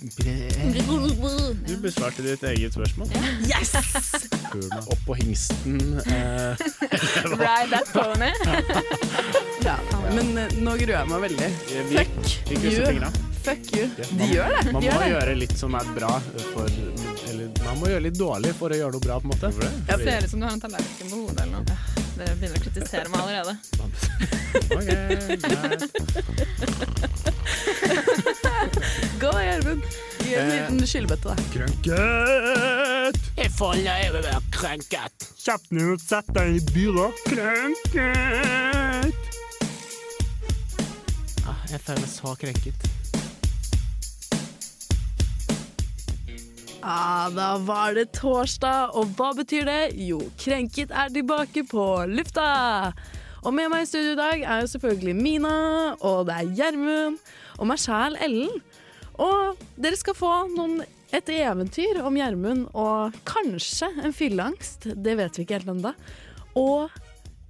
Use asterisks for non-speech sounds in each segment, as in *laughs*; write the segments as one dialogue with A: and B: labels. A: Du
B: Du
C: *laughs*
B: besvarte ditt eget spørsmål. Yes! Opp på hingsten. eh,
C: Ride that pony.
A: Ja, men eh, nå gruer jeg meg veldig.
B: vi, vi krysser
A: you.
B: fingra.
A: Fuck you.
B: Ja,
A: De
B: man-
A: gjør det.
B: Man
A: De
B: må
A: gjør det.
B: gjøre litt som er bra for Eller man må gjøre litt dårlig for å gjøre noe bra, på en måte.
C: Det ser ut som du har en tallerken på hodet eller noe. Dere begynner å kritisere meg allerede.
B: Ok, greit.
A: Gå, Gjermund. Gi en
B: Eh.
A: liten skyllebøtte, da.
B: Krønket! Jeg folder jeg vil være krønket. Kjapp nå, sett deg i byrå. Krønket! jeg føler meg så krenket.
A: Ah, da var det torsdag, og hva betyr det? Jo, Krenket er tilbake på lufta! Og med meg i studio i dag er jo selvfølgelig Mina, og det er Gjermund, og meg sjæl, Ellen. Og dere skal få noen, et eventyr om Gjermund og kanskje en fylleangst, det vet vi ikke helt ennå. Og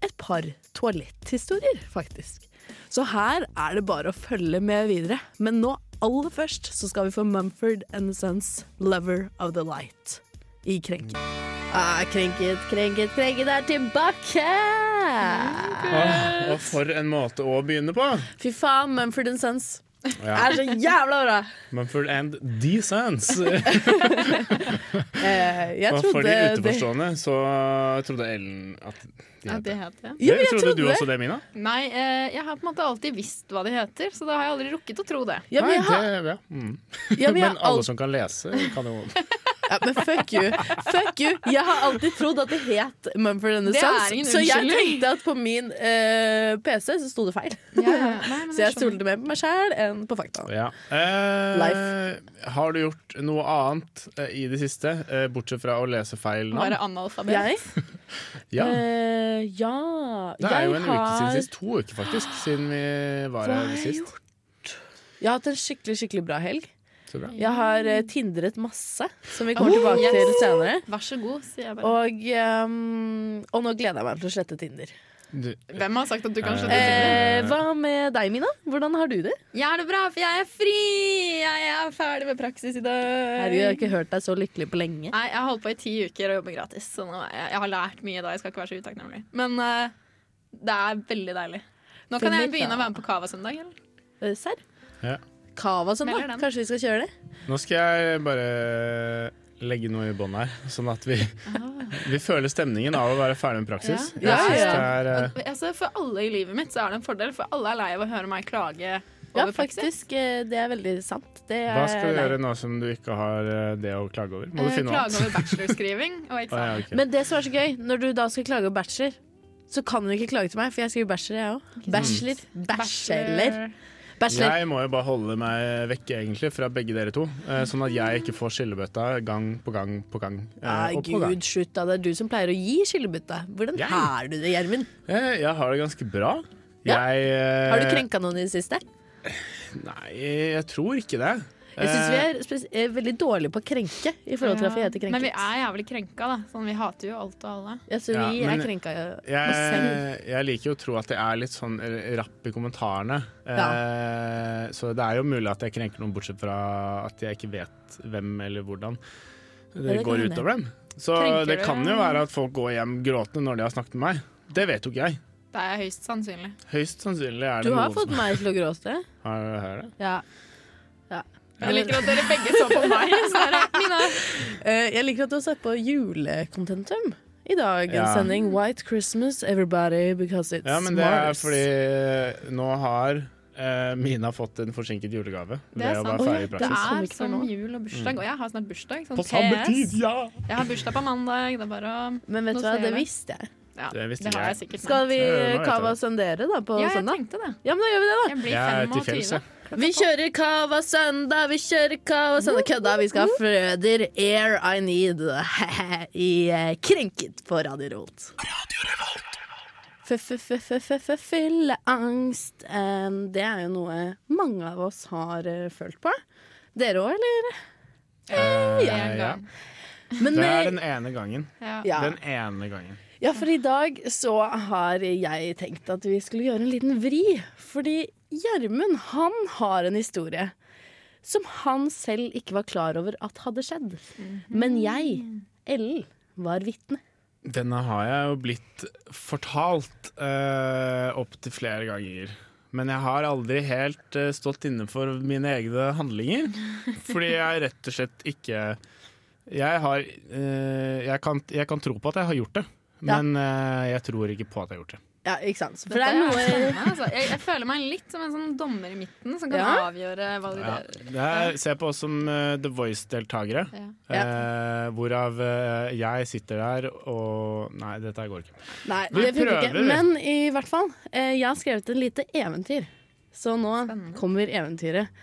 A: et par toaletthistorier, faktisk. Så her er det bare å følge med videre. Men nå aller først så skal vi få Mumford and Sons' 'Lover of the Light' i Krenket. Ah, krenket, krenket, krenket er tilbake!
B: og for en måte å begynne på!
A: Fy faen, Mumford and Sons
B: Ja.
A: er så jævla bra!
B: Mumford and the
A: *laughs*
B: Sons.
A: Eh, jeg
B: Og for
A: trodde
B: de
A: det
B: utenforstående så trodde Ellen at de
C: Ja,
B: het
C: det
B: det.
C: heter jeg.
A: Jo, men jeg
B: trodde,
A: trodde
B: du
A: det.
B: også det, Mina?
C: Nei, eh, jeg har på en måte alltid visst hva de heter, så da har jeg aldri rukket å tro det.
A: Ja, men
B: Nei,
A: jeg har,
B: det, ja. Mm.
A: ja, men
B: men
A: jeg har
B: alle som kan lese, kan jo
A: Ja, men fuck you. Fuck you. Jeg har alltid trodd at det het Mumford and
C: Det er
A: Sons,
C: ingen
A: så jeg
C: unnskyldning.
A: tenkte at på min eh, PC så sto det feil.
C: *laughs*
A: Så jeg stolte mer på meg sjæl enn på fakta.
B: ja. eh,
A: Life.
B: Har du gjort noe annet eh, i det siste, eh, bortsett fra å lese feil navn?
C: Være analfabet.
A: Jeg?
B: Ja.
A: Eh, ja.
B: Det er
A: jeg
B: jo en uke
A: har-
B: siden sist. To uker, faktisk, siden vi var
A: Hva
B: her
A: har jeg
B: sist.
A: gjort? Jeg har hatt en skikkelig skikkelig bra helg.
B: Så bra.
A: Jeg har eh, tindret masse, som vi kommer
C: Oh,
A: tilbake
C: yes.
A: til senere.
C: Vær så god, sier jeg bare.
A: Og, ehm, og nå gleder jeg meg til å slette Tinder.
B: Du,
C: Hvem har sagt at du kan
B: Eh,
C: slette Tinder?
A: Eh, hva med deg, Mina? Hvordan har du det?
C: Jeg har det bra, for jeg er fri! Jeg er ferdig med praksis i dag.
A: Herregud, jeg har ikke hørt deg så lykkelig på lenge.
C: Nei, jeg har holdt på i ti uker og jobber gratis, så nå, jeg, jeg har lært mye da. Jeg skal ikke være så utakknemlig. Men eh, det er veldig deilig. Nå kan jeg
A: Fint,
C: begynne å
A: da.
C: være med på Cava søndag. Eller?
A: Eh, Serr?
B: Ja.
A: Cava sånn,
C: Melder
A: da.
C: den.
A: Kanskje vi skal kjøre det?
B: nå skal jeg bare legge noe i bånn her, sånn at vi, vi føler stemningen av å være ferdig med praksis.
C: Ja.
B: Jeg
A: Ah. Ja,
B: synes
A: ja.
B: det er, eh,
C: Altså, for alle i livet mitt så er det en fordel, for alle er lei av å høre meg klage
A: Ja,
C: over praksis.
A: faktisk. eh, Det er veldig sant. Det er,
B: Hva skal du
A: nei.
B: gjøre nå som du ikke har eh, det å klage over? Må du
C: Eh,
B: finne noe
C: klage
B: annet?
C: over bachelorskriving og
B: Å, ja,
C: eksamen.
B: ok.
A: Men det som er så gøy, når du da skal klage om bachelor, så kan du ikke klage til meg, for jeg skriver bachelor, jeg òg. Bachelor. Bachelor. Bachelor.
B: Jeg må jo bare holde meg vekke egentlig fra begge dere to, eh, sånn at jeg ikke får skillebøtta gang på gang på gang. eh,
A: Nei,
B: og på
A: gud,
B: gang.
A: slutt da. Det er du som pleier å gi skillebytte. Hvordan
B: Jeg?
A: har du det, Gjermund?
B: Eh, Jeg har det ganske bra.
A: Ja.
B: Jeg eh,
A: Har du krenka noen i det siste?
B: Nei, jeg tror ikke det.
A: Jeg syns
B: Eh,
A: vi er, spes- er veldig dårlige på å krenke i forhold til at vi heter
C: Men vi
A: krenket.
C: er jævlig krenka, da. Sånn, vi hater jo alt og alle.
A: Ja, så vi
B: Ja, men-
A: er krenka oss selv.
B: Eh, jeg, jeg liker jo å tro at jeg er litt sånn eh, rapp i kommentarene. Eh, Så det er jo mulig at jeg krenker noen, bortsett fra at jeg ikke vet hvem eller hvordan det,
A: det kan
B: går
A: hende.
B: utover dem. Så
C: Krenker
B: det
C: du-
B: kan jo være at folk går hjem gråtende når de har snakket med meg. Det vet jo ikke jeg.
C: Det er høyst sannsynlig.
B: Høyst sannsynlig er
A: Du
B: det
A: har
B: noen
A: fått meg til å gråte.
B: som har har jeg det.
A: Ja. ja.
C: Jeg liker at dere begge så
A: *laughs*
C: på meg. Så er det Mina.
A: Eh, jeg liker at du har sett på julekontentum i dagens
B: Ja.
A: sending. White Christmas, everybody, because it's
B: Ja, men det er
A: marvelous.
B: fordi nå har eh, Mina fått en forsinket julegave
C: Det
B: ved å
C: er sant.
B: være ferdig i
A: Å, ja,
C: Det
B: praksis.
A: Som
C: er
A: ikke
C: som
A: for nå.
C: jul og bursdag, og jeg har snart bursdag.
B: Mm.
C: Sånn
B: På samme
C: PS.
B: tid, ja!
C: Jeg har bursdag på mandag. Det er bare å
A: Men vet
C: Nå
A: du hva,
C: ser jeg
A: det
C: det.
A: visste jeg.
C: ja,
B: Det visste
C: har
B: jeg.
C: jeg sikkert.
A: Skal vi
B: Ja, nå vet jeg
A: cava
B: det.
A: søndere da på
C: ja, jeg
A: søndag?
C: tenkte det.
A: Ja, men da gjør vi det, da.
C: Jeg blir
B: Jeg er
C: 25.
B: til fjells, jeg.
A: Vi kjører cava søndag, vi kjører cava søndag. Kødda, vi skal ha Frøder Air I Need *laughs* i eh, Krenket på Radio Revolt. F-f-f-f-f-fylleangst. Um, Det er jo noe mange av oss har eh, følt på. Dere òg, eller?
B: Eh,
C: Ja, en
B: ja.
C: gang.
A: Men,
B: Det
A: eh,
B: er den ene gangen.
C: Ja.
A: ja.
B: Den ene gangen.
A: Ja, for i dag så har jeg tenkt at vi skulle gjøre en liten vri. Fordi Gjermund, han har en historie som han selv ikke var klar over at hadde skjedd. Men jeg, Ellen, var vitne.
B: Denne har jeg jo blitt fortalt uh, opptil flere ganger. Men jeg har aldri helt eh, stått inne for mine egne
C: *laughs*
B: handlinger. Fordi jeg rett og slett ikke Jeg, har, eh, jeg, kan, jeg kan tro på at jeg har gjort det,
A: Ja.
B: men eh, jeg tror ikke på at jeg har gjort det.
A: Ja, ikke sant? For
C: Dette
A: det er
C: er
A: noe
C: spennende, altså. jeg, jeg føler meg litt som en sånn dommer i midten som kan
A: Ja.
C: avgjøre hva du
B: Ja.
C: gjør.
B: Jeg ser på oss som eh, The Voice-deltakere.
C: Ja.
B: eh, hvorav eh, jeg sitter der og Nei, dette går ikke.
A: *laughs* Nei,
B: Vi
A: det funker
B: prøver,
A: ikke.
B: vi.
A: Men i hvert fall, eh, jeg har skrevet et lite eventyr. Så nå
C: Spennende.
A: kommer eventyret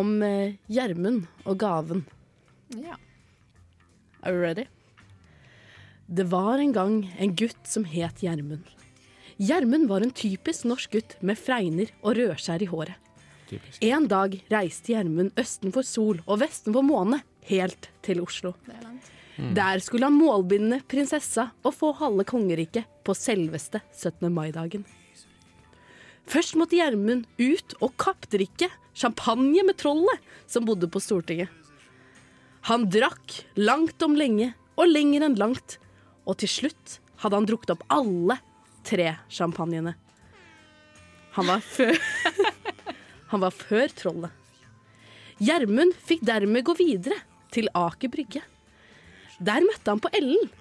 A: om eh, Gjermund og gaven.
C: Ja.
A: Are you ready? Det var en gang en gutt som het Gjermund. Gjermund var en typisk norsk gutt med fregner og rødskjær i håret.
B: Typisk.
A: En dag reiste Gjermund østen for sol og vesten for måne, helt til Oslo.
C: Det er langt.
A: Der skulle han målbinde prinsessa og få halve kongeriket på selveste 17. mai-dagen. Først måtte Gjermund ut og kappdrikke champagne med trollet som bodde på Stortinget. Han drakk langt om lenge og lenger enn langt, og til slutt hadde han drukket opp alle tre champagnene. Han var før, *laughs* han var før trollet. Gjermund fikk dermed gå videre til Aker Brygge. Der møtte han på Ellen.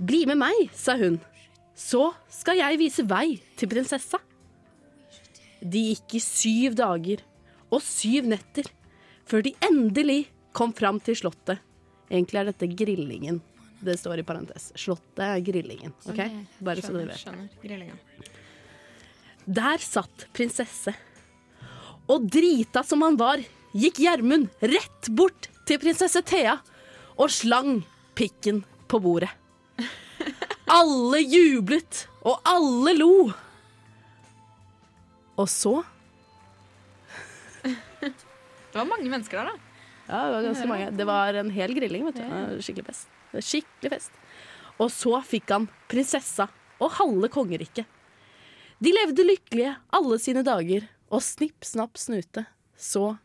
A: Bli med meg, sa hun. Så skal jeg vise vei til prinsessa. De gikk i syv dager og syv netter før de endelig kom fram til Slottet. Egentlig er dette Grillingen. Det står i parentes. Slottet er Grillingen. ok? Eh, Bare så du
C: skjønner,
A: vet.
C: skjønner. Grillinga.
A: Der satt prinsesse. Og drita som han var, gikk Gjermund rett bort til prinsesse Thea og slang pikken på bordet. Alle jublet, og alle lo. Og så
C: Det var mange mennesker der, da.
A: Ja, det var ganske mange. Det var en hel grilling, vet du. Det var Skikkelig fest. Det var Skikkelig fest. Og så fikk han prinsessa og halve kongeriket. De levde lykkelige alle sine dager, og snipp, snapp, snute, så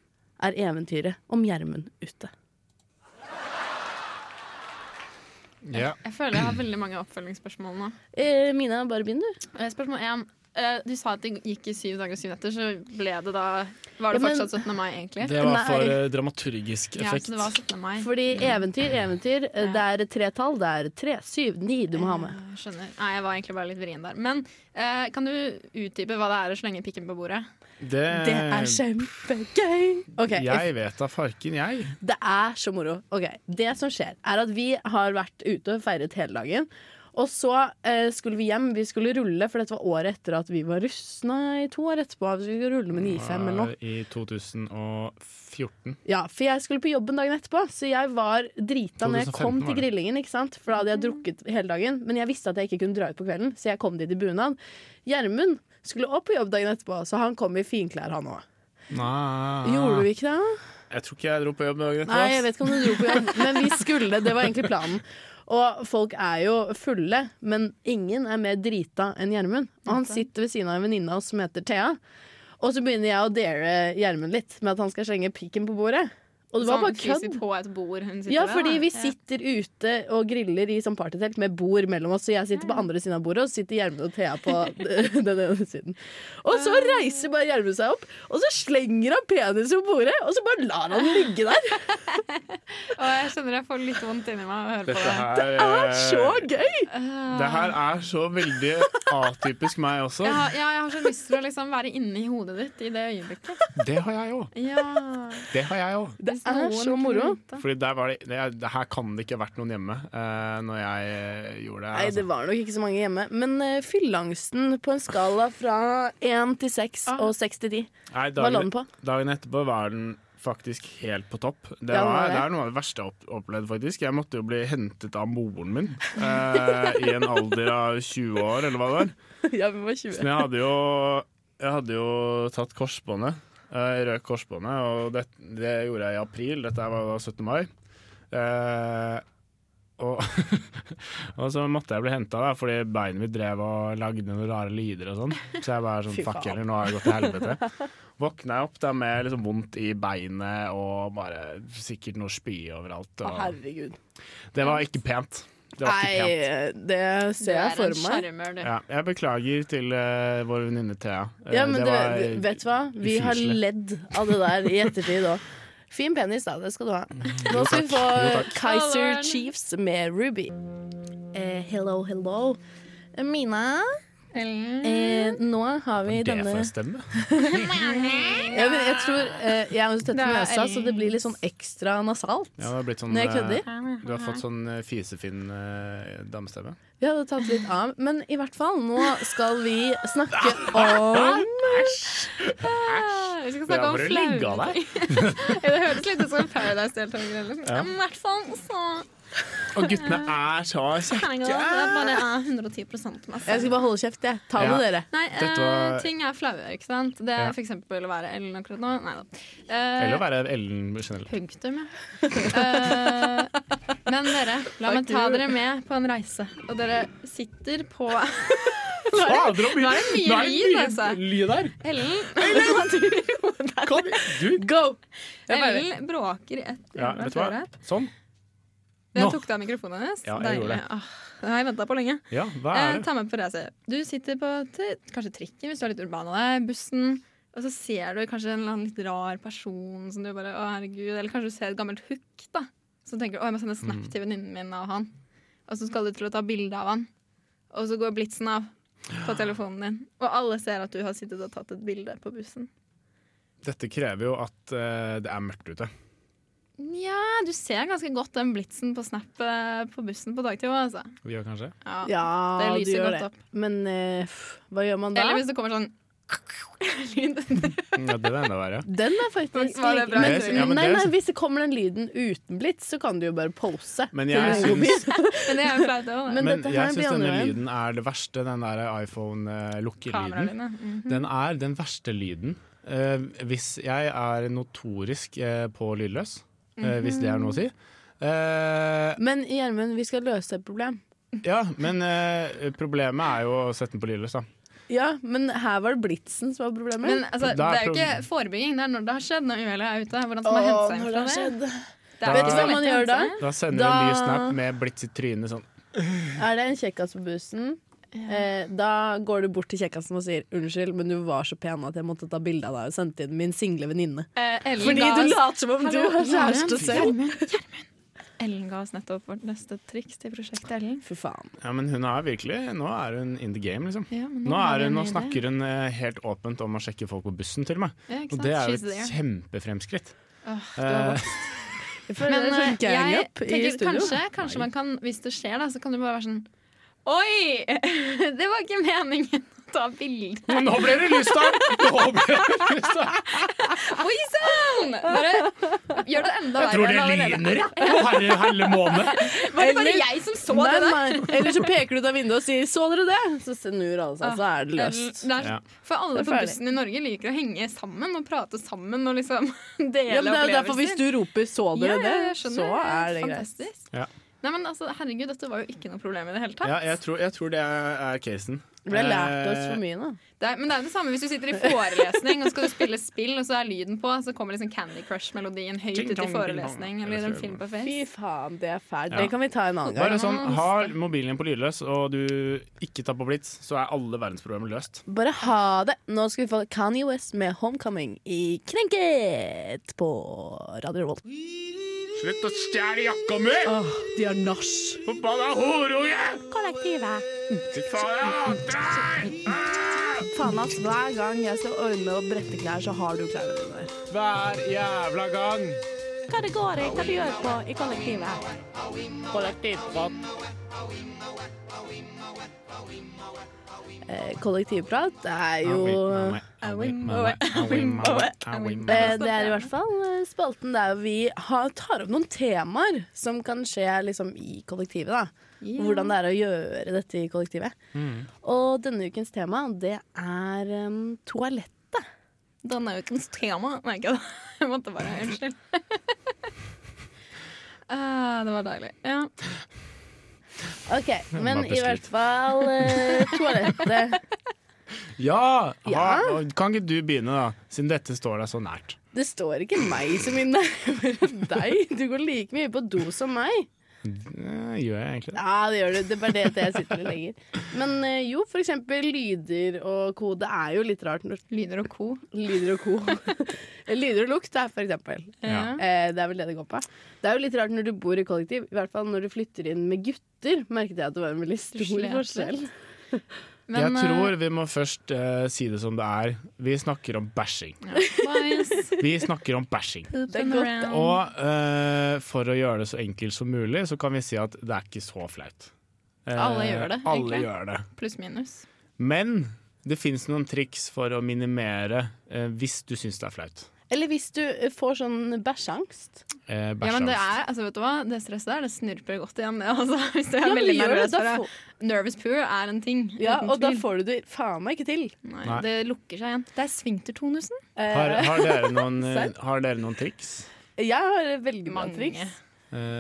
A: er eventyret om Gjermund ute.
B: Ja.
C: Jeg føler jeg har veldig mange oppfølgingsspørsmål nå.
A: Eh, Mina, bare begynn, du.
C: Eh, Spørsmål én. Eh, Du sa at det gikk i syv dager og syv netter, så ble det da Var
A: Ja,
C: det
A: men-
C: fortsatt 17. mai, egentlig?
B: Det var for
A: Nei.
B: eh, dramaturgisk
C: Ja,
B: effekt.
C: så det var 17. mai.
A: Fordi eventyr, eventyr, eh, det er tre tall. Det er tre, syv, ni du må ha med.
C: Eh, Skjønner. Nei, jeg var egentlig bare litt vrien der. Men eh, kan du utdype hva det er å slenge pikken på bordet?
B: Det,
A: Det er kjempegøy! OK,
B: Jeg vet da farken, jeg.
A: Det er så moro. Ok, Det som skjer, er at vi har vært ute og feiret hele dagen. Og så eh, skulle vi hjem. Vi skulle rulle, for dette var året etter at vi var russ. Nei, to år etterpå. Vi skulle rulle med en I5 eller noe.
B: I 2014.
A: Ja, For jeg skulle på jobben dagen etterpå, så jeg var drita når jeg
B: 2015
A: kom
B: var
A: til
B: det.
A: grillingen. ikke sant? For da hadde jeg drukket hele dagen, men jeg visste at jeg ikke kunne dra ut på kvelden, så jeg kom dit i bunad. Gjermund skulle opp på jobb dagen etterpå, så han kom i finklær, han òg.
B: Nei.
A: Gjorde vi ikke det?
B: Jeg tror ikke jeg dro på jobb dagen etter.
A: Nei, jeg
B: ass.
A: vet ikke om du dro på jobb, men vi skulle. Det var egentlig planen. Og folk er jo fulle, men ingen er mer drita enn Gjermund. Og han sitter ved siden av en venninne av oss som heter Thea. Og så begynner jeg å dare Gjermund litt med at han skal slenge pikken på bordet. Og det var
C: Sånn
A: bare kødd.
C: fysisk på et bord hun sitter
A: Ja,
C: ved, da.
A: fordi vi
C: Ja.
A: sitter ute og griller i sånn partytelt med bord mellom oss, og jeg sitter på andre siden av bordet, og så sitter Gjermund og Thea på
C: *laughs*
A: den ene siden. Og så
C: Ah.
A: reiser bare Gjermund seg opp, og så slenger han penis på bordet, og så bare lar han den ligge der.
C: Og jeg skjønner jeg får litt vondt inni meg av å høre på
B: Dette her, det
C: det.
A: er så gøy!
B: Det her er så veldig atypisk meg også.
C: Jeg har, ja, jeg har så lyst til å liksom være inne i hodet ditt i det øyeblikket.
B: Det har jeg òg.
C: Ja,
B: Det har jeg òg.
A: Det
C: hvis
A: er
C: noen
A: så
C: kunne
A: moro.
C: vite.
B: Fordi der var det, det, det her kan det ikke ha vært noen hjemme eh, når jeg eh, gjorde det.
A: Nei,
B: her,
A: det
B: altså.
A: var nok ikke så mange hjemme. Men eh, fyllangsten på en skala fra 1 til 6
C: Ah.
A: og 6 til 10,
B: Nei,
A: hva la
B: dagen,
A: den på?
B: dagen etterpå var den faktisk helt på topp. Det,
A: Ja, den var
B: var,
A: det.
B: det er noe av det verste jeg har opp- opplevd, faktisk. Jeg måtte jo bli hentet av moren min eh, i en alder av 20 år, eller hva det var.
A: *laughs* ja, vi var 20.
B: Men jeg hadde jo, jeg hadde jo tatt korsbåndet, eh, rød korsbåndet, og det, det gjorde jeg i april. Dette var da 17. mai. Eh, Og, *laughs* og så måtte jeg bli henta fordi beinet mitt drev og lagde noen rare lyder og sånn. Så jeg bare sånn
A: Fy
B: fuck
A: faen.
B: heller, nå har jeg gått til helvete. Våkna jeg opp da med liksom vondt i beinet og bare sikkert noe spy overalt.
A: Å,
B: Og
A: herregud.
B: det var ikke pent. Det var ikke pent.
A: Nei, det
C: Du
A: ser jeg
C: er en
A: for meg.
C: sjarmør, du.
B: Ja, jeg beklager til eh, vår venninne Thea. Eh,
A: Ja, men
B: det
A: du,
B: var-
A: vet du hva? Vi har
B: ufyselig.
A: ledd av det der i ettertid òg. Fin penis, da. Det skal du ha. Nå skal vi få
B: Jo, takk.
A: Kaiser
C: Hallo.
A: Chiefs med Ruby. Eh, hello, hello. Mina,
C: Ellen.
A: eh, nå har vi
B: Det
A: denne
B: får jeg stemme.
A: ja, men Jeg tror eh, Jeg er jo så tett med
C: Det er
A: nesa, så det blir litt sånn ekstra nasalt.
B: Ja, det har blitt sånn,
A: Når jeg
B: eh,
A: kødder.
B: Du har fått sånn eh, fisefin eh, damestemme.
A: Vi hadde tatt litt av, men i hvert fall, nå skal vi snakke om
C: Ah, Vi
B: Det
C: skal snakke
B: er
C: om
B: bare å ligge av
C: flaue ting. *laughs* Ja, det høres litt ut som en Paradise-deltaker. eller noe.
B: Ja.
C: Men I hvert fall så
B: Og guttene er så kjekke!
C: kan jeg gå. Det er bare eh, 110 til meg
A: Jeg skal
C: selv.
A: bare holde kjeft, jeg. Ta det,
B: Ja.
A: dere.
C: Nei, eh,
B: Dette var-
C: ting er flaue, ikke sant? Det
B: Ja.
C: er for eksempel å være Ellen akkurat nå. Nei da. Eh,
B: Eller å være Ellen generelt.
C: Punktum, ja. Eh, men dere, la meg ta dere med på en reise. Og dere sitter på
B: Fader,
C: nå er det mye lyd, altså.
B: lyd her!
C: Ellen,
B: Kom, du.
A: Go! Jeg bare-
C: Ellen bråker i ett
B: Ja,
C: hjørne
B: vet
C: av
B: du hva?
C: øret.
B: Sånn. Nå.
C: Jeg tok deg av mikrofonen hennes.
B: Ja, jeg gjorde
C: Deilig.
B: det.
C: Åh, det har jeg venta på lenge.
B: Ja, hva
C: Eh,
B: er det?
C: ta meg på reise. Du sitter på t- kanskje trikken hvis du er litt urban av deg, bussen, og så ser du kanskje en eller annen litt rar person som du bare Å, herregud. Eller kanskje du ser et gammelt hook, da. Så tenker du å, jeg må sende snap
B: Mm.
C: til venninnen min av han. Og så skal du til å ta bilde av han, og så går blitsen av på telefonen din. Og alle ser at du har sittet og tatt et bilde på bussen.
B: Dette krever jo at eh, det er mørkt ute.
C: Nja, du ser ganske godt den blitsen på snap eh, på bussen på dagtid òg, altså.
B: Vi gjør kanskje
C: Ja.
A: Ja,
C: Det
A: du
C: lyser
A: gjør
C: godt
A: det.
C: opp.
A: Men eh, pff, hva gjør man da?
C: Eller hvis det kommer sånn *laughs* lyd.
B: ja, Det er enda verre.
A: Den er faktisk
C: Var det bra?
A: men,
B: Ja, men
A: nei,
B: det-
A: nei, Hvis det kommer den lyden uten blits, så kan du jo bare pose.
B: Men
A: til
B: jeg
A: en mobil.
B: syns,
C: Men det er jo flaut òg, da.
A: Men
B: men
A: dette her
B: jeg syns
A: blir
B: denne
A: andre veien.
B: lyden er det verste. Den der eh, iPhone-lukkelyden.
C: Kameralyden. Mm.
B: Den er den verste lyden. Eh, hvis jeg er notorisk eh, på lydløs,
C: Mhm.
B: eh, hvis det er noe å si. Eh,
A: Men Gjermund, vi skal løse et problem.
B: ja, men eh, problemet er jo å sette den på lydløs, da.
A: Ja, men her var det blitsen som var problemet.
C: Men altså,
B: Da
C: det
B: er
C: er jo
B: prob-
C: ikke forebygging, det er når det har skjedd, når uhellet er ute. Hvordan skal man hente seg inn fra det? det?
B: Vet du hva
A: man gjør da?
B: Da sender
A: Da-
B: jeg en ny snap med blits i trynet sånn.
A: Er det en kjekkas på bussen? Eh, da går du bort til kjekkasen og sier 'unnskyld, men du var så pen at jeg måtte ta bilde av deg og sendte til min single venninne'.
C: Eh,
A: Fordi du later som om du har kjæreste selv.
C: Ellen ga oss nettopp vårt neste triks til prosjektet Ellen.
A: Fy faen.
B: Ja, men hun er virkelig Nå er hun in the game, liksom.
C: Ja, men
B: Nå,
C: har
B: er
C: vi
B: hun,
C: en
B: nå
C: ny idé.
B: snakker hun eh, helt åpent om å sjekke folk på bussen, til og med.
C: Ja,
B: Og
C: ikke sant?
B: det er jo
C: She's there.
B: et kjempefremskritt.
C: Åh, du har
B: Eh,
A: Jeg føler
C: Men
A: det er sånn
C: eh, jeg
A: gang-up i
C: tenker
A: studio.
C: kanskje, kanskje man kan, hvis det skjer, da, så kan du bare være sånn Oi! *laughs* Det var ikke meningen å ta bilde.
B: men nå ble det lyst av! Nå ble det
C: *laughs*
B: lyst av!
C: Oi sann! *laughs* Bare gjør det enda verre.
B: Jeg tror
C: enn
B: det
C: allerede.
B: lyner, jeg! Herre helle måne!
C: Var det bare
A: Eller-
C: jeg som så
A: Nei,
C: det der?
A: nei. Eller så peker du ut av vinduet og sier 'så dere det?' Så snur alle seg, så er det løst.
C: Ah. Det er-
B: Ja.
C: For alle
A: Det er
C: på
A: ferdig.
C: bussen i Norge liker å henge sammen og prate sammen og liksom *laughs* dele
A: Ja, men det er jo derfor hvis
C: opplevelser.
A: du roper 'så
C: Ja,
A: dere
C: ja, jeg
A: det',
C: skjønner.
A: så er det greit.
C: Fantastisk.
B: Ja.
C: Nei, men altså, herregud, dette var jo ikke noe problem i det hele tatt.
B: Ja, jeg tror, jeg tror det er casen. Eh,
A: Vi har lært oss for mye nå.
C: det er, men det er jo det samme hvis du sitter
A: *laughs*
C: i forelesning og skal du spille spill, og så er lyden på, så kommer liksom Candy Crush-melodien høyt
B: Ding
C: ut i
B: dong,
C: forelesning
B: ding dong.
C: eller en film på
A: Fy
C: Face.
A: faen, det er fælt.
B: Ja.
A: Det kan vi ta en annen gang.
B: Bare sånn, har mobilen din på lydløs, og du ikke tar på blits, så er alle verdensproblemer løst.
A: Bare ha det. Nå skal vi få Kanye West med 'Homecoming' i Krenket på Radio Revolt.
B: Slutt å stjele jakka mi!
A: Åh, de har nach.
B: Forbanna horunge!
A: Kollektivet.
B: Fy faen, jeg hater deg!
A: Faen ass, hver gang jeg skal ordne og brette klær, så har du klærne dine der.
B: Hver jævla gang.
A: Hva det går i? Hva du gjør på i kollektivet?
B: Kollektivprat.
A: Eh, kollektivprat er jo uh, eh, Det er i hvert fall eh, spalten der vi har, tar opp noen temaer som kan skje liksom, i kollektivet. da.
C: Ja.
A: Hvordan det er å gjøre dette i kollektivet. Og denne ukens tema, det er um, em, toalettet.
C: Denne ukens tema Nei, ikke det. *laughs* Jeg *laughs* måtte bare Unnskyld. Ah, det var deilig. Ja.
A: OK, men
B: Bare
A: i hvert fall eh, toalettet.
B: Ja!
A: Ja.
B: Ha, kan ikke du begynne, da? Siden dette står deg så nært.
A: Det står ikke meg så mye nærmere deg. Du går like mye på do som meg.
B: Eh, Gjør jeg egentlig det?
A: Ja, det gjør du. Det er bare det at jeg sitter litt lenger. Men eh, jo, for eksempel lyder og ko. Det er jo litt rart når
C: Lyner og co.
A: lyder og ko *laughs* Lyder og lukt er for eksempel.
B: Ja.
A: Eh, det er vel det det går på. Det er jo litt rart når du bor i kollektiv, i hvert fall når du flytter inn med gutter, merket jeg at det var en veldig stor
C: Sliter.
A: forskjell.
C: *laughs* Men,
B: jeg
C: eh,
B: tror vi må først eh, si det som det er. Vi snakker om bæsjing.
C: Bæsj.
B: Vi snakker om bæsjing.
C: Poop
A: Det er
C: and
A: godt,
C: around.
B: Og eh, for å gjøre det så enkelt som mulig, så kan vi si at det er ikke så flaut. Eh,
C: Alle gjør det,
B: alle
C: egentlig.
B: gjør det.
C: Pluss minus.
B: Men det fins noen triks for å minimere eh, hvis du syns det er flaut.
A: Eller hvis du eh, får sånn bæsjangst.
B: Eh,
C: Ja, men det
B: bæsjeangst.
C: er, altså vet du hva, det stresset der, det snurper godt igjen det, altså. *laughs* Hvis du er
A: Ja, men
C: veldig
A: gjør det,
C: nervøs
A: da
C: for det.
A: får-
C: Nervous poo er en ting.
A: Ja,
C: uten
A: og da
C: tvil.
A: får du det faen meg ikke til.
C: Nei,
B: Nei.
C: det lukker seg igjen. Det er sfinktertonusen.
B: Har,
A: Eh,
B: har, dere
C: *laughs*
B: noen, eh,
A: Sant.
B: har dere noen triks?
A: jeg har veldig bra triks.
B: Eh,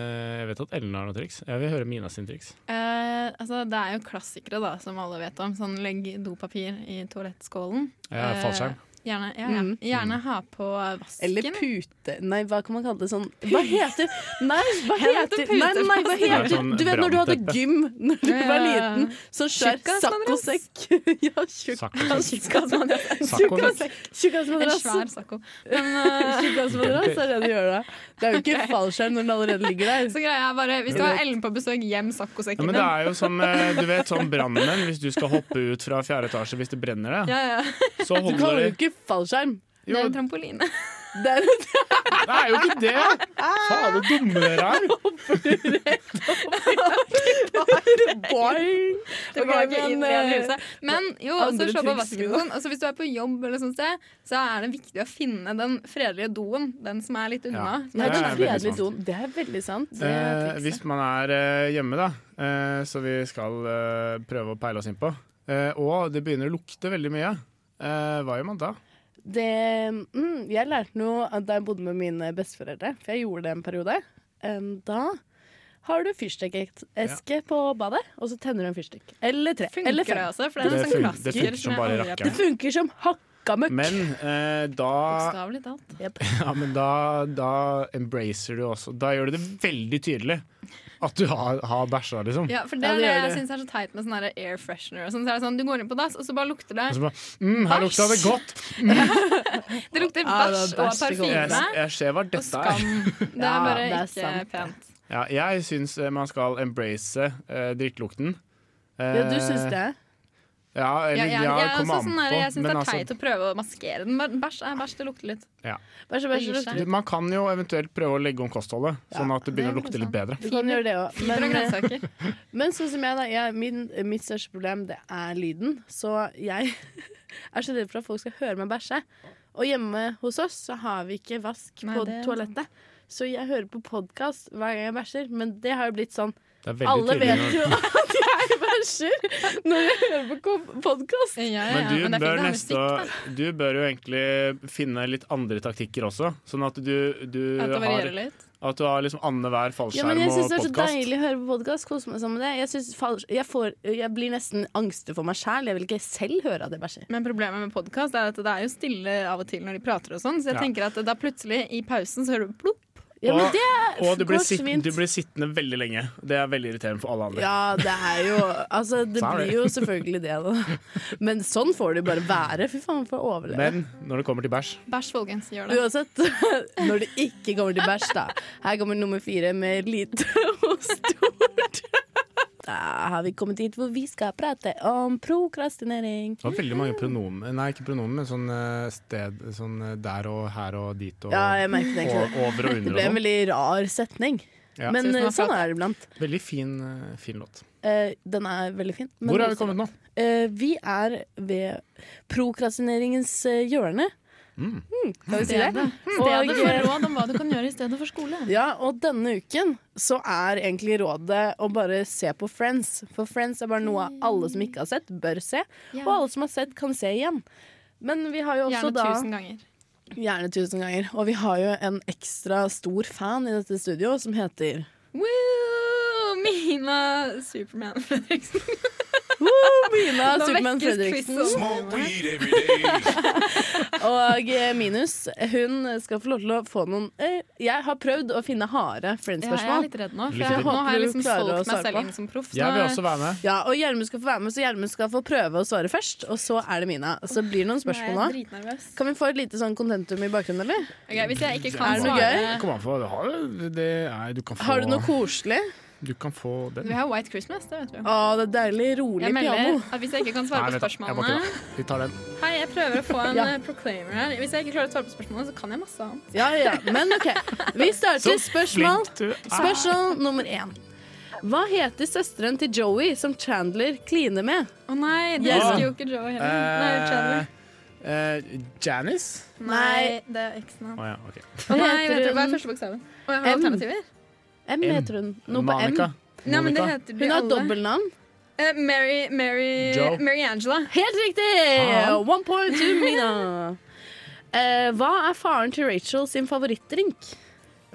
B: jeg vet at Ellen har noen triks. Jeg vil høre Mina sin triks.
C: Eh, altså, det er jo klassikere da, som alle vet om. Sånn legg dopapir i toalettskålen.
B: Ja,
C: Eh,
B: fallskjerm.
C: Gjerne, ja, ja.
A: Mm.
C: gjerne ha på vasken.
A: Eller pute Nei, hva kan man kalle det sånn Hva heter Nei, hva
C: Heter
A: heter Nei, nei, hva
C: puteplass.
B: Det er
A: heter
B: sånn
A: Du vet når du hadde
B: brannteppe.
A: gym når du var
C: Ja, ja, ja. *laughs*
A: liten? Sånn svær
C: Tjukkass
A: saccosekk. *laughs* Ja, tjukkass.
C: Tjukkassmadrass.
B: Saccosekk.
C: En
A: Tjukkassmadrass.
C: svær sakko. Men, eh,
A: Tjukkassmadrass er det du gjør da. Det er jo ikke
C: Ok.
A: fallskjerm når den allerede ligger der.
C: så greia er bare, hvis du har Ellen på besøk, gjem
B: Ja,
C: sakkosekken
B: men det er jo som eh, du vet, sånn brannmenn. Hvis du skal hoppe ut fra fjerde etasje hvis det brenner deg,
C: Ja, ja.
B: så
A: Du kaller
B: holder
A: det
B: du
A: jo ikke fallskjerm.
C: Det er
B: Jo,
C: en trampoline.
A: Det er
B: det er jo ikke det! Faen, så dumme dere er!
A: Boing!
C: *laughs* Det
A: Ok,
C: var ikke
A: men,
C: inn i det
A: eh,
C: huset. Men jo,
A: andre
C: så se på
A: triks,
C: vasken og
A: Mina.
C: sånn. Altså, hvis du er på jobb, eller sånt sted, så er det viktig å finne den fredelige doen. Den som er litt unna.
B: Ja.
C: Som
A: Nei,
B: Det
A: den
C: er
B: er veldig
A: fredelige
B: sant.
A: doen. Det er veldig sant.
C: Det er
B: Eh,
C: trikset.
B: hvis man er eh, hjemme, da, eh, så vi skal eh, prøve å peile oss innpå, eh, og det begynner å lukte veldig mye, eh, hva gjør man da?
A: Det, mm, jeg lærte noe av- da jeg bodde med mine besteforeldre, for jeg gjorde det en periode. Em, da har du fyrstikkeske på badet, og så tenner du en fyrstikk. Eller tre.
C: Funker
A: eller
C: det,
A: fem.
C: altså? For det er
B: Det
C: en sånn
B: funker- det
C: klassiker.
B: funker som bare
C: jeg aldri har
B: rakkeren.
A: Det funker som hakka møkk.
B: Men eh, da,
C: Bokstavelig talt.
A: Jep.
B: ja, men da, da embracer du også. Da gjør du det veldig tydelig at du har, har bæsja, liksom.
C: Ja, for det
A: Ja,
C: er
A: det
C: det
A: gjør
C: jeg
A: det.
C: syns er så teit med sånn der air freshener. Og sånn, så er det sånn, du går inn på dass, og så bare lukter det
B: Og så bare mm, her lukta det
C: Bæsj.
B: godt.
C: Det lukter
A: Ja, det er
C: bæsj og
A: bæsj det går
B: Jeg,
C: parfyme.
B: jeg ser hva
C: Og
B: dette er.
C: skam. Det
B: *laughs*
A: Ja,
C: er bare
A: det er
C: ikke
A: sant.
C: pent.
B: Ja, jeg syns eh, man skal embrace eh, drittlukten. Eh,
A: Ja, du syns det?
B: Ja,
C: Ja,
B: eller
C: jeg,
B: ja,
C: jeg, er
B: kom an
C: også sånn
B: på.
C: der, jeg syns
B: men
C: det er
B: altså-
C: teit å prøve å maskere den. Men Bæsj er bæsj, det lukter litt.
A: Vær så, vær så,
C: Det gir
A: snill.
C: seg.
B: Man kan jo eventuelt prøve å legge om kostholdet, sånn at det begynner å lukte litt bedre.
A: Du kan gjøre det òg.
C: Fra
A: Men, eh,
C: grønnsaker.
A: men sånn som jeg, da. Jeg, min, mitt største problem, det er lyden. Så jeg *laughs* er så redd for at folk skal høre meg bæsje. Og hjemme hos oss så har vi ikke vask
C: Nei,
A: på
C: det er
A: toalettet. Så jeg hører på podkast hver gang jeg bæsjer, men det har jo blitt sånn
B: Det er veldig
A: Alle
B: tydelig
A: vet
B: når-
A: jo *laughs* at jeg bæsjer når jeg hører på podkast.
C: *laughs* Ja, ja,
B: Men
C: ja.
B: du,
C: det er
B: bør
C: fint å ha
B: neste,
C: musikk, da.
B: du bør jo egentlig finne litt andre taktikker også, sånn at du, du
C: At det
B: har,
C: varierer litt.
B: at du har liksom annenhver
A: Ja,
B: fallskjerm
A: men jeg
B: og
A: syns det er så
B: podkast.
A: deilig å høre på podkast. Kose meg sammen med det. Jeg, synes fals- jeg, får, jeg blir nesten angstfull for meg sjæl. Jeg vil ikke selv høre at jeg bæsjer.
C: Men problemet med podkast er at det er jo stille av og til når de prater og sånn, så jeg
B: Ja.
C: tenker at da plutselig, i pausen, så hører du plopp.
A: Ja, men
B: Og-
A: det
B: Og du blir,
A: går så
B: sitt,
A: fint.
B: du blir sittende veldig lenge. Det er veldig irriterende for alle andre.
A: Ja, det er jo Altså, det
B: Sorry.
A: blir jo selvfølgelig det, da. Men sånn får det jo bare være. Fy faen, for å overleve.
B: Men når det kommer til bæsj
C: Bæsj, folkens, gjør det.
A: Uansett, *laughs* når det ikke kommer til bæsj, da. Her kommer nummer fire med lite *laughs* og stort. Da har vi kommet dit hvor vi skal prate om prokrastinering.
B: Det var veldig mange pronomen Nei, ikke pronomen, men sånn eh, sted Sånn eh, der og her og dit og,
A: Ja, jeg merket egentlig det.
B: og over og
A: Det
B: under
A: ble en
B: og sånn.
A: veldig rar setning.
B: Ja.
A: Men
C: Tusen
A: eh,
C: takk for
A: sånn
C: at-
A: er det iblant.
B: Veldig fin, eh, fin låt.
A: Eh, Den er veldig fin. men
B: Hvor er vi
A: også-
B: kommet nå?
A: Eh, Vi er ved prokrastineringens eh, hjørne.
B: Mm.
A: Mm, Kan vi si det? Mm.
C: Stedet.
A: Og, eh,
C: Stedet for råd om hva du kan gjøre i stedet for skole.
A: Ja, og denne uken så er egentlig rådet å bare se på Friends. For Friends er bare noe alle som ikke har sett, bør se. Og alle som har sett, kan se igjen. Men vi har jo også
C: Gjerne
A: da
C: tusen ganger.
A: Gjerne tusen ganger. Og vi har jo en ekstra stor fan i dette studio som heter
C: Woo! Mina Superman Fredriksen.
A: Woo, Mina
C: Nå
A: Supermann
C: vekkes
A: Fredriksen.
C: quizen.
D: Smoke weed every day.
A: Og eh, Minus hun skal få lov til å få noen eh, Jeg har prøvd å finne harde
C: Ja, jeg er
A: Friends-spørsmål.
C: litt redd nå. For
B: Lykke
C: jeg,
B: til.
C: nå har jeg
A: Håper du
C: liksom
A: klarer å
C: solgt meg
A: svare
C: selv
A: på.
C: inn som proff. så
B: Jeg
C: nå-
B: vil også være med.
A: Ja, og Gjermund skal få være med, så Gjermund skal få prøve å svare først. Og så er det Mina. Så blir det noen spørsmål
C: Nå
A: nå.
C: er jeg dritnervøs.
A: Kan vi få et lite sånn kontentum i bakgrunnen, eller?
C: Ok, hvis jeg ikke
A: Er det
C: kan
A: noe
C: svare
B: Kom an på, du har jo det Nei, du kan få
A: Har du noe koselig?
B: Du kan få den.
C: Vi har White Christmas, det vet du.
A: Å, det er deilig. Rolig
C: Jeg melder
A: piano.
C: at hvis jeg ikke kan svare
B: Nei,
C: på
B: vet du, jeg bare
C: spørsmålene
B: kødda. Vi tar den.
C: Hei, jeg prøver å få en
A: *laughs* Ja.
C: eh, proclaimer her. Hvis jeg ikke klarer å svare på spørsmålene, så kan jeg masse annet.
A: Ja, ja. Men OK. Vi starter spørsmål
B: Flink du er.
A: Spørsmål nummer én. Hva heter søsteren til Joey som Chandler kliner med?
C: Å nei, det
A: Ja.
C: husker jo ikke Joe heller. Nei, Chandler.
B: Ah. Eh, eh, Janice?
C: Nei, det er
B: Å
C: eksen hans.
B: ja, OK.
C: Å nei,
A: Heter
C: vet du, hva
A: hun-
C: er første bokstaven? Å, jeg har
A: M.
C: alternativer?
A: M
B: M.
A: heter hun. Noe på M.
B: Monica.
C: Nei, men det
B: Monica.
C: heter de
A: Hun har et
C: alle.
A: dobbeltnavn.
C: Eh, Mary, Mary,
B: Joe.
C: Mary Angela.
A: Helt riktig!
B: Faen.
A: One point to
C: *laughs*
A: Mina. Eh, hva er faren til Rachel sin favorittdrink?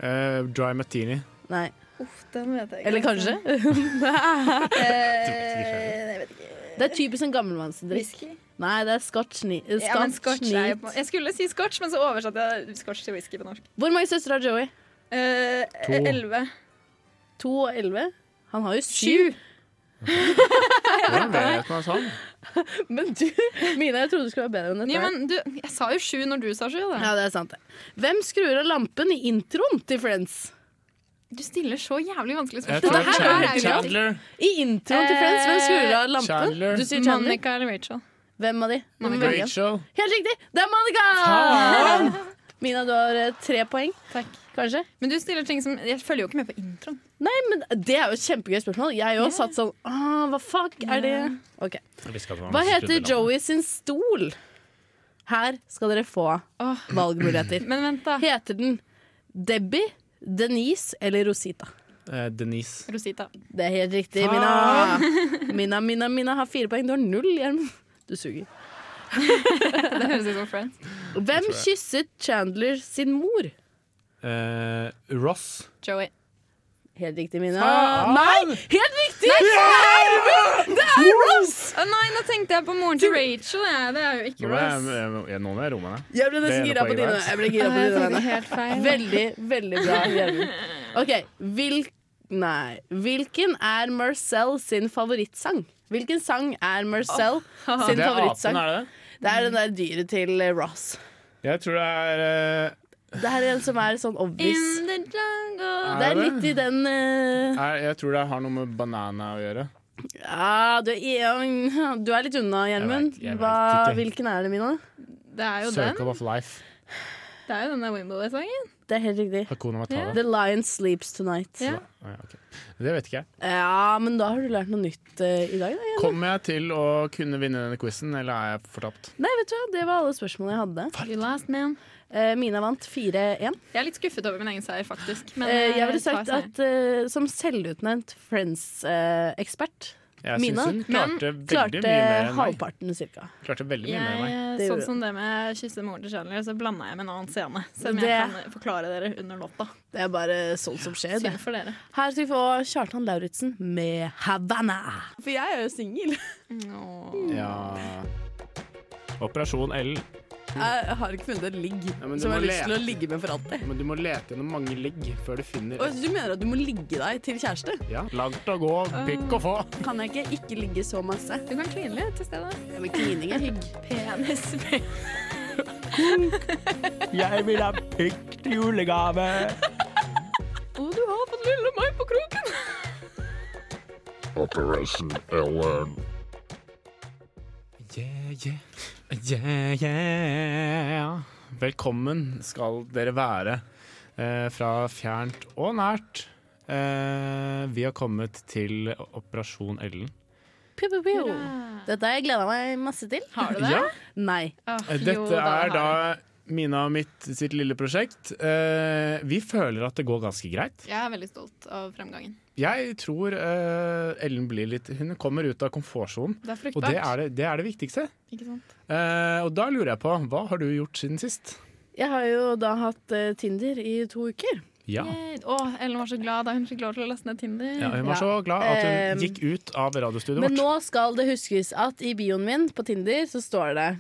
B: Eh, dry martini.
A: Nei.
C: Uff, den vet jeg ikke.
A: Eller
C: *laughs*
A: kanskje?
C: Eh, jeg vet ikke.
A: Det er typisk en gammelmannsdrikk.
C: Whisky?
A: Nei, det er scotch ni- eh,
C: Ja, men
A: Scotch
C: scotch er jo
A: neat.
C: på Jeg skulle si scotch, men så oversatte jeg scotch til whisky på norsk.
A: Hvor mange søstre har Joey?
C: Eh,
B: To.
C: Elleve.
A: To og elleve? Han har jo syv.
C: Sju.
B: Hvordan vet man sånn?
A: *laughs* Men du, Mina, jeg trodde du skulle være bedre enn dette.
C: Ja,
A: her.
C: men du, jeg sa jo sju når du sa sju. Da.
A: Ja, det er sant. det. Hvem skrur av lampen i introen til Friends?
C: Du stiller så jævlig vanskelige
B: Jeg
C: spørsmål.
B: tror
A: det her er
B: Chandler,
A: jo-
B: Chandler.
A: I introen til Friends, hvem skrur av lampen?
B: Chandler.
A: Du sier Chandler.
C: Monica eller Rachel.
A: Hvem av de? Du må
C: Monica.
A: velge en.
B: Rachel.
A: Helt riktig! Det er Monica!
B: Faen!
A: *laughs* Mina, du har eh, tre poeng,
C: Takk.
A: kanskje?
C: Men du stiller ting som Jeg følger jo ikke med på introen.
A: Nei, men Det er jo et kjempegøy spørsmål. Jeg òg satt sånn ah, Hva fuck er det? Ok, Hva heter Joey sin stol? Her skal dere få
C: Åh,
A: valgmuligheter.
C: men vent, da.
A: Heter den Debbie, Denise eller Rosita?
B: Eh, Denise.
C: Rosita.
A: Det er helt riktig, Mina.
B: Faen.
A: Mina, Mina, Mina har fire poeng. Du har null, Gjermund. Du suger.
C: Det høres ut som Friends.
A: Hvem kysset Chandler sin mor?
B: Eh, Ross.
C: Joey.
A: Helt riktig, Mina.
B: Faen!
A: Ah, Nei, helt riktig!
B: Ah!
C: Å nei, nå tenkte jeg på moren til Rachel. Jeg. Det er jo ikke
B: Nå må
C: Ross.
B: jeg, jeg, nå må jeg roe meg ned.
A: Jeg ble nesten
B: Det er
A: gira på
B: poenget
A: dine.
B: deres.
A: Jeg ble
C: Å,
A: gira på
C: jeg
A: dine
C: tenkte
A: vegne.
C: helt feil.
A: Veldig, veldig bra, Gjermund. OK, hvil... Nei. Hvilken er Marcel sin favorittsang? Hvilken sang er Marcel sin
B: Det er
A: favorittsang?
B: apen, er det det?
A: Det er den der dyret til eh, Ross.
B: Jeg tror det er eh,
A: Det her er en som er sånn obvious.
C: In the jungle.
A: Det
B: Er
A: er
B: det?
A: litt i den eh,
B: er, Jeg tror det har noe med banana å gjøre.
A: Ja, du, er, du er litt unna, Gjermund.
B: Jeg vet- jeg vet
A: Hva-
B: ikke.
A: Hvilken er det, Mina?
C: Det er jo den.
B: Circle of Life.
C: Det er jo den der Wimbledon-sangen.
A: Det er helt riktig.
B: Hakuna
C: Ja.
B: Matata.
A: The Lion Sleeps Tonight.
C: Ja.
A: Ja,
B: Ja. Ja, ok. Det vet ikke jeg.
A: men da har du lært noe nytt eh, i dag. Da.
B: Kommer jeg til å kunne vinne denne quizen, eller er jeg fortapt?
A: Nei, vet du hva, det var alle spørsmålene jeg hadde.
C: You last man.
A: Eh, Mina vant 4-1.
C: Jeg er litt skuffet over min egen seier, faktisk. Men
A: Eh, jeg ville
C: tar
A: sagt
C: seieren.
A: at eh, som selvutnevnt Friends-ekspert
B: Jeg
A: Mina,
B: syns hun
C: men
B: klarte veldig
A: klarte
B: mye mer enn meg.
A: halvparten cirka.
B: Klarte veldig mye mer enn meg.
C: Jeg,
A: Det gjorde
C: sånn som det med å kysse moren til Chandler, så blanda jeg med en annen scene. Selv om
A: Det-
C: jeg kan forklare dere under låta.
A: Det er bare sånt som skjer. Det.
C: Synd for dere.
A: Her skal vi få Kjartan Lauritzen med 'Havana'. For jeg er jo singel.
B: Ja. Operasjon L.
A: Jeg har ikke funnet et ligg
B: men du
A: som jeg har
B: må
A: lyst til å
B: lete.
A: ligge med for alltid.
B: Men du må lete gjennom mange ligg før du finner
A: Og du mener at du må ligge deg til kjæreste?
B: Ja. Langt å gå, pikk å få.
A: Kan jeg ikke ikke ligge så masse?
C: Du kan kline litt til stedet.
A: Ja, Men klining er hygg.
C: Penis.
B: Jeg vil ha pikk til julegave.
C: Å, du har fått lille meg på kroken!
D: Operation LN.
B: Yeah, yeah. Yeah, yeah. Velkommen skal dere være eh, fra fjernt og nært. Eh, vi har kommet til Operasjon Ellen.
A: Pew, pew, pew. Dette har jeg gleda meg masse til.
C: Har du det?
B: Ja.
A: Nei.
C: Åh, jo,
B: Dette
C: Eh, da har
B: er
C: jeg
B: da
C: det.
B: Mina og mitt sitt lille prosjekt. Eh, vi føler at det går ganske greit.
C: Jeg er veldig stolt av fremgangen.
B: Jeg tror eh, Ellen blir litt Hun kommer ut av komfortsonen,
C: Det er
B: og
C: fruktbart.
B: det er det, det, er det viktigste.
C: Ikke sant?
B: Eh, og da lurer jeg på, hva har du gjort siden sist?
A: Jeg har jo da hatt eh, Tinder i to uker.
B: Ja.
C: Yay. Åh, Ellen var så glad da hun fikk lov til å laste ned Tinder.
B: ja. Hun var
A: Ja.
B: så glad at hun
A: Eh,
B: gikk ut av radiostudioet
A: Men
B: vårt.
A: nå skal det huskes at i bioen min på Tinder så står det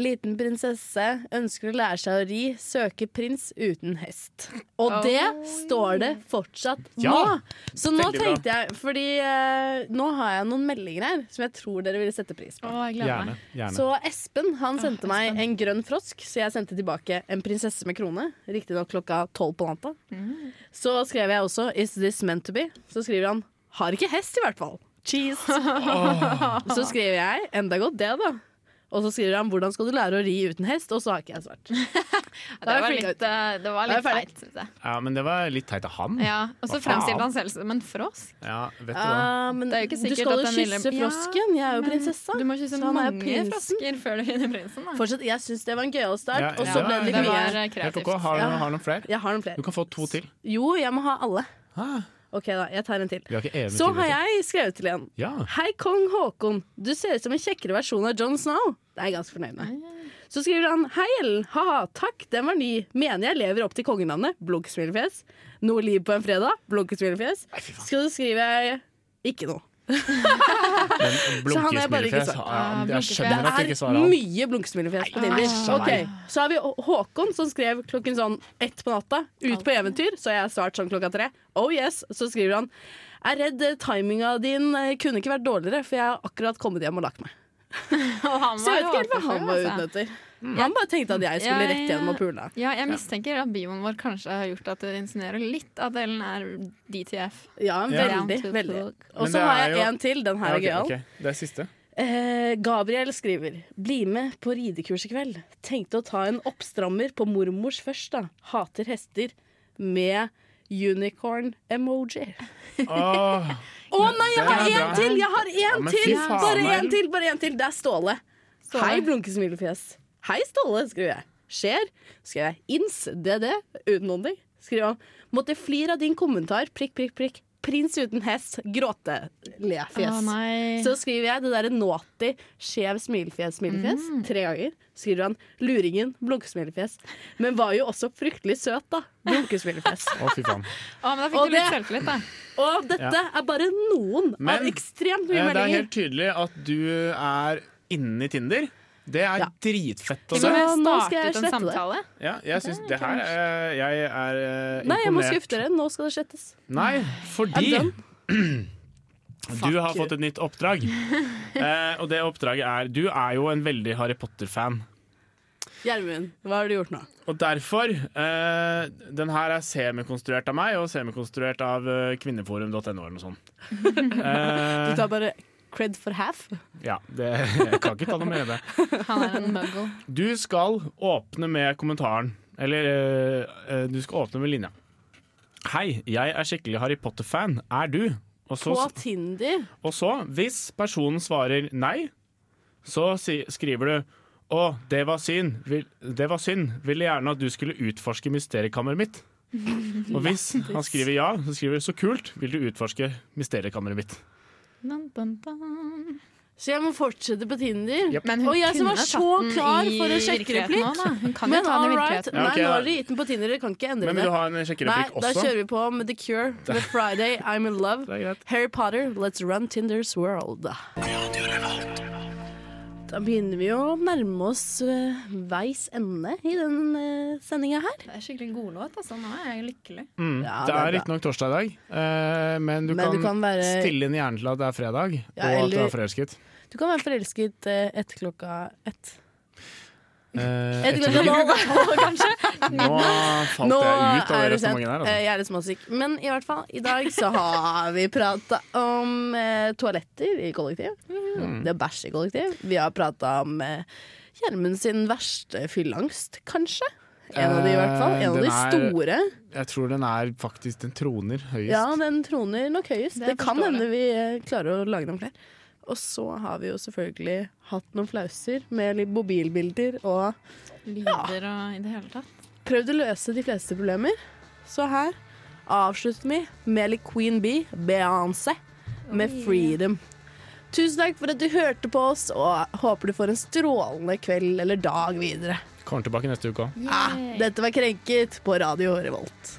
A: Liten prinsesse ønsker å lære seg å ri, søker prins uten hest. Og
C: Oi.
A: det står det fortsatt
B: Ja,
A: nå! Så nå
B: veldig bra.
A: tenkte jeg Fordi eh, nå har jeg noen meldinger her som jeg tror dere ville sette pris på.
C: Åh, jeg gleder
B: Gjerne.
C: meg.
B: gjerne.
A: Så Espen han
C: Åh,
A: sendte meg
C: Ah, Espen.
A: en grønn frosk, så jeg sendte tilbake en prinsesse med krone. Riktignok klokka tolv på natta.
C: Mm.
A: Så skrev jeg også 'Is this meant to be?' Så skriver han 'Har ikke hest, i hvert fall'.
C: *laughs*
A: Cheese. Så skriver jeg 'Enda godt det, da'. Og så skriver han 'Hvordan skal du lære å ri uten hest?' Og så har ikke jeg svart.
C: Ja,
A: Da
C: det,
A: er
C: var
A: jeg
C: litt, eh, det
A: Da
C: var
A: er
C: litt
A: jeg ferdig.
C: feit, syns jeg.
B: Ja, men det var litt teit av han. Ja,
C: Ja, Og så
B: Hva faen?
C: fremstilte han selv som en frosk.
B: vet du hva.
A: Ja, Ah, men
C: Det er jo ikke
A: du
C: sikkert
A: skal
C: at
A: jo
C: den ville-
A: kysse
C: Ja,
A: frosken. Jeg er jo
C: men
A: prinsessa.
C: Du må kysse
A: så han er jo
C: mange
A: prinsen.
C: frosker før du finner prinsen. Da.
A: Fortsatt, jeg syns det var en gøyal start,
B: Ja,
A: og
B: ja,
A: så ble det litt
C: det var
A: mye.
C: eh,
B: Helt
C: kreativt.
B: OK. Har du
A: Ja.
B: har du noen flere?
A: Jeg har noen
B: Du
A: flere.
B: kan få to til.
A: Jo, jeg må ha alle.
B: Ah,
A: OK, da. Jeg tar en til.
B: vi har ikke evig
A: Så
B: tid
A: har
B: til.
A: jeg skrevet til en.
B: liksom. Ja.
A: Hei, kong Haakon. Du ser ut som en kjekkere versjon av John Snow. Det er jeg ganske fornøyd med. Så skriver han Hei, Ellen. Ha-ha, takk, den var ny. Mener jeg lever opp til kongenavnet. Blunk, smilefjes. Noe liv på en fredag. Blunk, smilefjes. Så skriver jeg ikke noe. han har jeg bare ikke
B: Blunkesmilefjes.
A: Ah, svart.
B: Ja, men jeg
C: Blunkefjes.
B: skjønner at du ikke svarer han.
A: Mye blunkesmilefjes på Tinder.
B: æsj a
A: Ok,
B: meg.
A: Så har vi Hå- Håkon som skrev klokken sånn ett på natta. Ut på eventyr. Så har jeg svart sånn klokka tre. Oh yes. Så skriver han er redd eh, timinga din eh, kunne ikke vært dårligere, for jeg har akkurat kommet hjem og lagt meg.
C: Og han
A: Så jeg vet
C: var
A: ikke helt hva
C: åpen for
A: han
C: det,
A: var
C: altså.
A: ute etter. Han bare tenkte at jeg skulle
C: Ja,
A: rett gjennom
C: ja.
A: og pule.
C: Ja, jeg mistenker at bioen vår kanskje har gjort at det insinuerer litt at Ellen er DTF.
A: Ja,
C: Down
A: veldig,
C: to
A: veldig.
C: plug.
A: Og
B: Men
A: så
B: det er
A: har jeg
B: jo-
A: en til. Den her
B: Ja,
A: er
B: ok,
A: gøyal.
B: ok. Det er
A: *laughs*
B: siste.
A: Eh, Gabriel skriver Bli med på ridekurs i kveld Tenkte å ta en oppstrammer på mormors først da Hater hester med unicorn-emoji
B: Åh,
A: Å nei, jeg
B: Den
A: har
B: er
A: en
B: bra.
A: til! Jeg har en
B: men fy
A: til!
B: faen,
A: Bare en
B: Ellen.
A: til, bare en til Det er Ståle
C: Ståle.
A: Hei, blunkesmilefjes Hei, Ståle, skriver jeg Skjer, skriver jeg Ins, DD, uten ånding Skriver han Måtte flir av din kommentar Prikk, prikk, prikk Prins uten hest, gråte, le, fjes
C: Å nei.
A: så skriver jeg det derre naughty, skjev smilefjes, smilefjes
C: Mm.
A: tre ganger. Skriver han 'luringen', blunkesmilefjes. Men var jo også fryktelig søt, da.
B: *laughs*
A: Blunkesmilefjes.
B: Å, fy faen.
C: Å, men
A: Og
C: da fikk du litt
A: det-
C: selvtillit, da.
A: Og dette er bare noen av
B: Men, Eh,
A: ekstremt mye
B: Det er
A: meldinger.
B: helt tydelig at du er inni Tinder. Det er
A: Ja.
B: dritfett å se.
C: Så
A: Ja,
C: vi
A: nå skal jeg
C: startet en
A: slette det.
C: samtale.
B: Ja, jeg syns det her eh, Jeg er eh, imponert.
A: Nei, jeg må skuffe dere. Nå skal det slettes.
B: Nei, fordi
A: I'm
B: du har
A: Fuck you.
B: fått et nytt
A: *laughs*
B: oppdrag. Eh, og det oppdraget er Du er jo en veldig Harry Potter-fan.
A: Gjermund, hva har du gjort nå?
B: Og derfor eh, Den her er semikonstruert av meg og semikonstruert av eh, kvinneforum.no eller noe sånt.
A: *laughs* Du
B: Eh,
A: tar bare cred for half.
B: ja, det, jeg kan ikke ta noe mer i det.
C: Han er en muggle.
B: Du skal åpne med kommentaren. Eller eh, eh, du skal åpne med linja. Hei, jeg er skikkelig Harry Potter-fan. Er du? Og så,
A: På Tinder.
B: og så, hvis personen svarer nei, så si, skriver du å, det var synd. Vil, det var synd. Ville gjerne at du skulle utforske mysteriekammeret mitt.
A: *laughs*
B: Og hvis han skriver ja, så skriver du så kult. Vil du utforske mysteriekammeret mitt?
C: Dun, dun, dun.
A: Så jeg må fortsette på Tinder.
B: Jep.
C: Men hun
A: Og jeg som var
C: kunne
A: så
C: tatt den
A: klar
C: i
A: for en
C: virkeligheten
A: sjekkereplikk.
C: nå, da. Hun kan jo
A: Men
C: ta den
A: all
C: i
A: right.
C: virkeligheten.
B: Ja, ok,
A: Nei, nå
B: da.
A: har dere gitt den på Tinder. Dere kan ikke endre
B: Men
A: det.
B: vil du ha en
A: Nei,
B: sjekkereplikk
A: da
B: også?
A: kjører vi på med The Cure, The
B: *laughs*
A: Friday, I'm in love.
B: Det er greit.
A: Harry Potter, let's run Tinders world. Da begynner vi å nærme oss eh, veis ende i den uh, sendinga her.
C: Det er skikkelig god låt, altså. Nå er jeg lykkelig.
B: Mm.
A: Ja,
B: det
A: det er
B: er
A: bra.
B: riktignok torsdag i dag, eh, men du
A: Men
B: kan,
A: du kan være-
B: stille inn hjernen til at det er fredag,
A: Ja,
B: og at du
A: eller-
B: er
A: *laughs*
B: forelsket.
A: Du kan være forelsket eh, etter klokka ett.
B: Eh,
A: Etter
B: etter-
A: klokka tolv.
B: nå falt
A: Nå
B: jeg ut av
A: er det sent.
B: resonnementet der.
A: Eh,
B: Altså.
A: Jeg er litt småsyk. Men i hvert fall, i dag så har vi prata om eh, toaletter i kollektiv.
B: Mhm.
A: Det er bæsj i kollektiv. Vi har prata om eh, Gjermund sin verste fylleangst, kanskje. En av de i hvert fall.
B: Eh,
A: En av de
B: den er-
A: store.
B: Jeg tror den er faktisk Den troner høyest.
A: Ja, den troner nok høyest.
C: Det
A: Det, kan
C: forstår jeg.
A: hende vi eh, klarer å lage noen flere. Og så har vi jo selvfølgelig hatt noen flauser med litt mobilbilder og
C: Lyder og i det hele tatt.
A: prøvd å løse de fleste problemer. Så her avslutter vi med litt Queen Bee, Beyoncé, med Freedom. Tusen takk for at du hørte på oss, og håper du får en strålende kveld eller dag videre.
B: Kommer tilbake neste uke òg.
A: Ah, dette var Krenket på Radio Revolt.